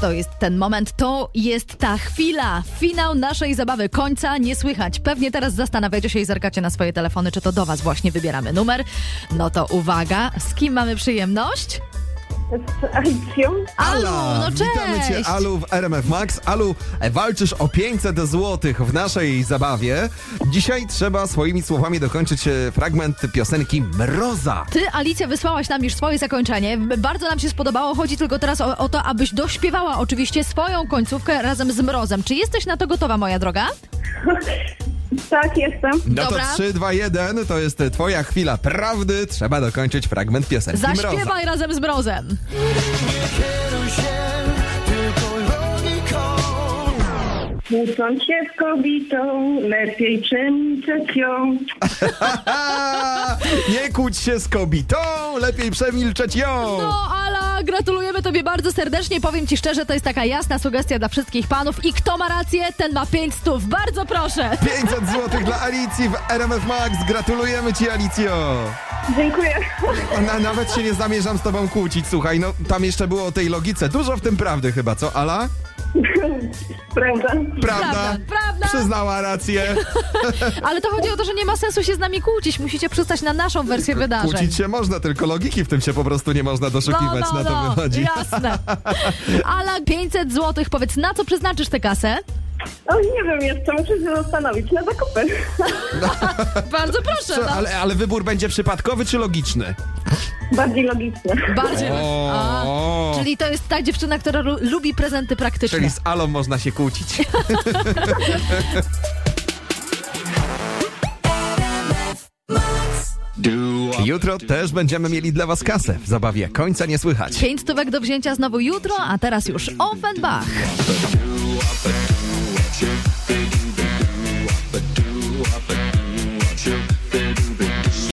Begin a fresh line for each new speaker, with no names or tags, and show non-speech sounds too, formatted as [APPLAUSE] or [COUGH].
To jest ten moment, to jest ta chwila. Finał naszej zabawy końca nie słychać. Pewnie teraz zastanawiacie się i zerkacie na swoje telefony, czy to do Was właśnie wybieramy numer. No to uwaga, z kim mamy przyjemność?
Z Alicją?
Alu,
Ala,
no cześć!
Witamy Cię, Alu, w RMF Max. Alu, e, walczysz o 500 zł w naszej zabawie. Dzisiaj trzeba swoimi słowami dokończyć e, fragment piosenki Mroza.
Ty, Alicja, wysłałaś nam już swoje zakończenie. B- Bardzo nam się spodobało. Chodzi tylko teraz o, o to, abyś dośpiewała oczywiście swoją końcówkę razem z Mrozem. Czy jesteś na to gotowa, moja droga?
Tak, jestem.
No
Dobra.
to 3, 2, 1 to jest e, Twoja chwila prawdy. Trzeba dokończyć fragment piosenki Mroza.
Zaśpiewaj razem z Mrozem.
Kłócąc się z kobietą, lepiej przemilczeć ją.
A, nie kłóć się z kobietą, lepiej przemilczeć ją.
No, Ala, gratulujemy Tobie bardzo serdecznie. Powiem Ci szczerze, to jest taka jasna sugestia dla wszystkich panów. I kto ma rację, ten ma 5 stów. Bardzo proszę.
500 zł dla Alicji w RMF Max. Gratulujemy Ci, Alicjo.
Dziękuję. [LAUGHS]
Na, nawet się nie zamierzam z tobą kłócić, słuchaj, no tam jeszcze było o tej logice. Dużo w tym prawdy chyba, co, Ala?
Prawda?
Prawda?
Prawda, prawda.
Przyznała
[LAUGHS]
rację.
Ale to chodzi o to, że nie ma sensu się z nami kłócić. Musicie przystać na naszą wersję wydarzeń. No,
Kłócić się można, tylko logiki w tym się po prostu nie można doszukiwać, na to wychodzi.
jasne. Ala, 500 zł, powiedz, na co przeznaczysz tę kasę?
O, nie wiem jeszcze, muszę się zastanowić. Na zakupy. [LAUGHS]
Bardzo proszę.
Co,
no.
ale, ale wybór będzie przypadkowy czy logiczny?
Bardziej logicznie.
Bardziej. A,
O.
czyli to jest ta dziewczyna, która lu- lubi prezenty praktyczne.
Czyli z Alą można się kłócić.
[LAUGHS]
Jutro też będziemy mieli dla was kasę. W zabawie końca nie słychać.
Pięć stówek do wzięcia znowu jutro, a teraz już Offenbach.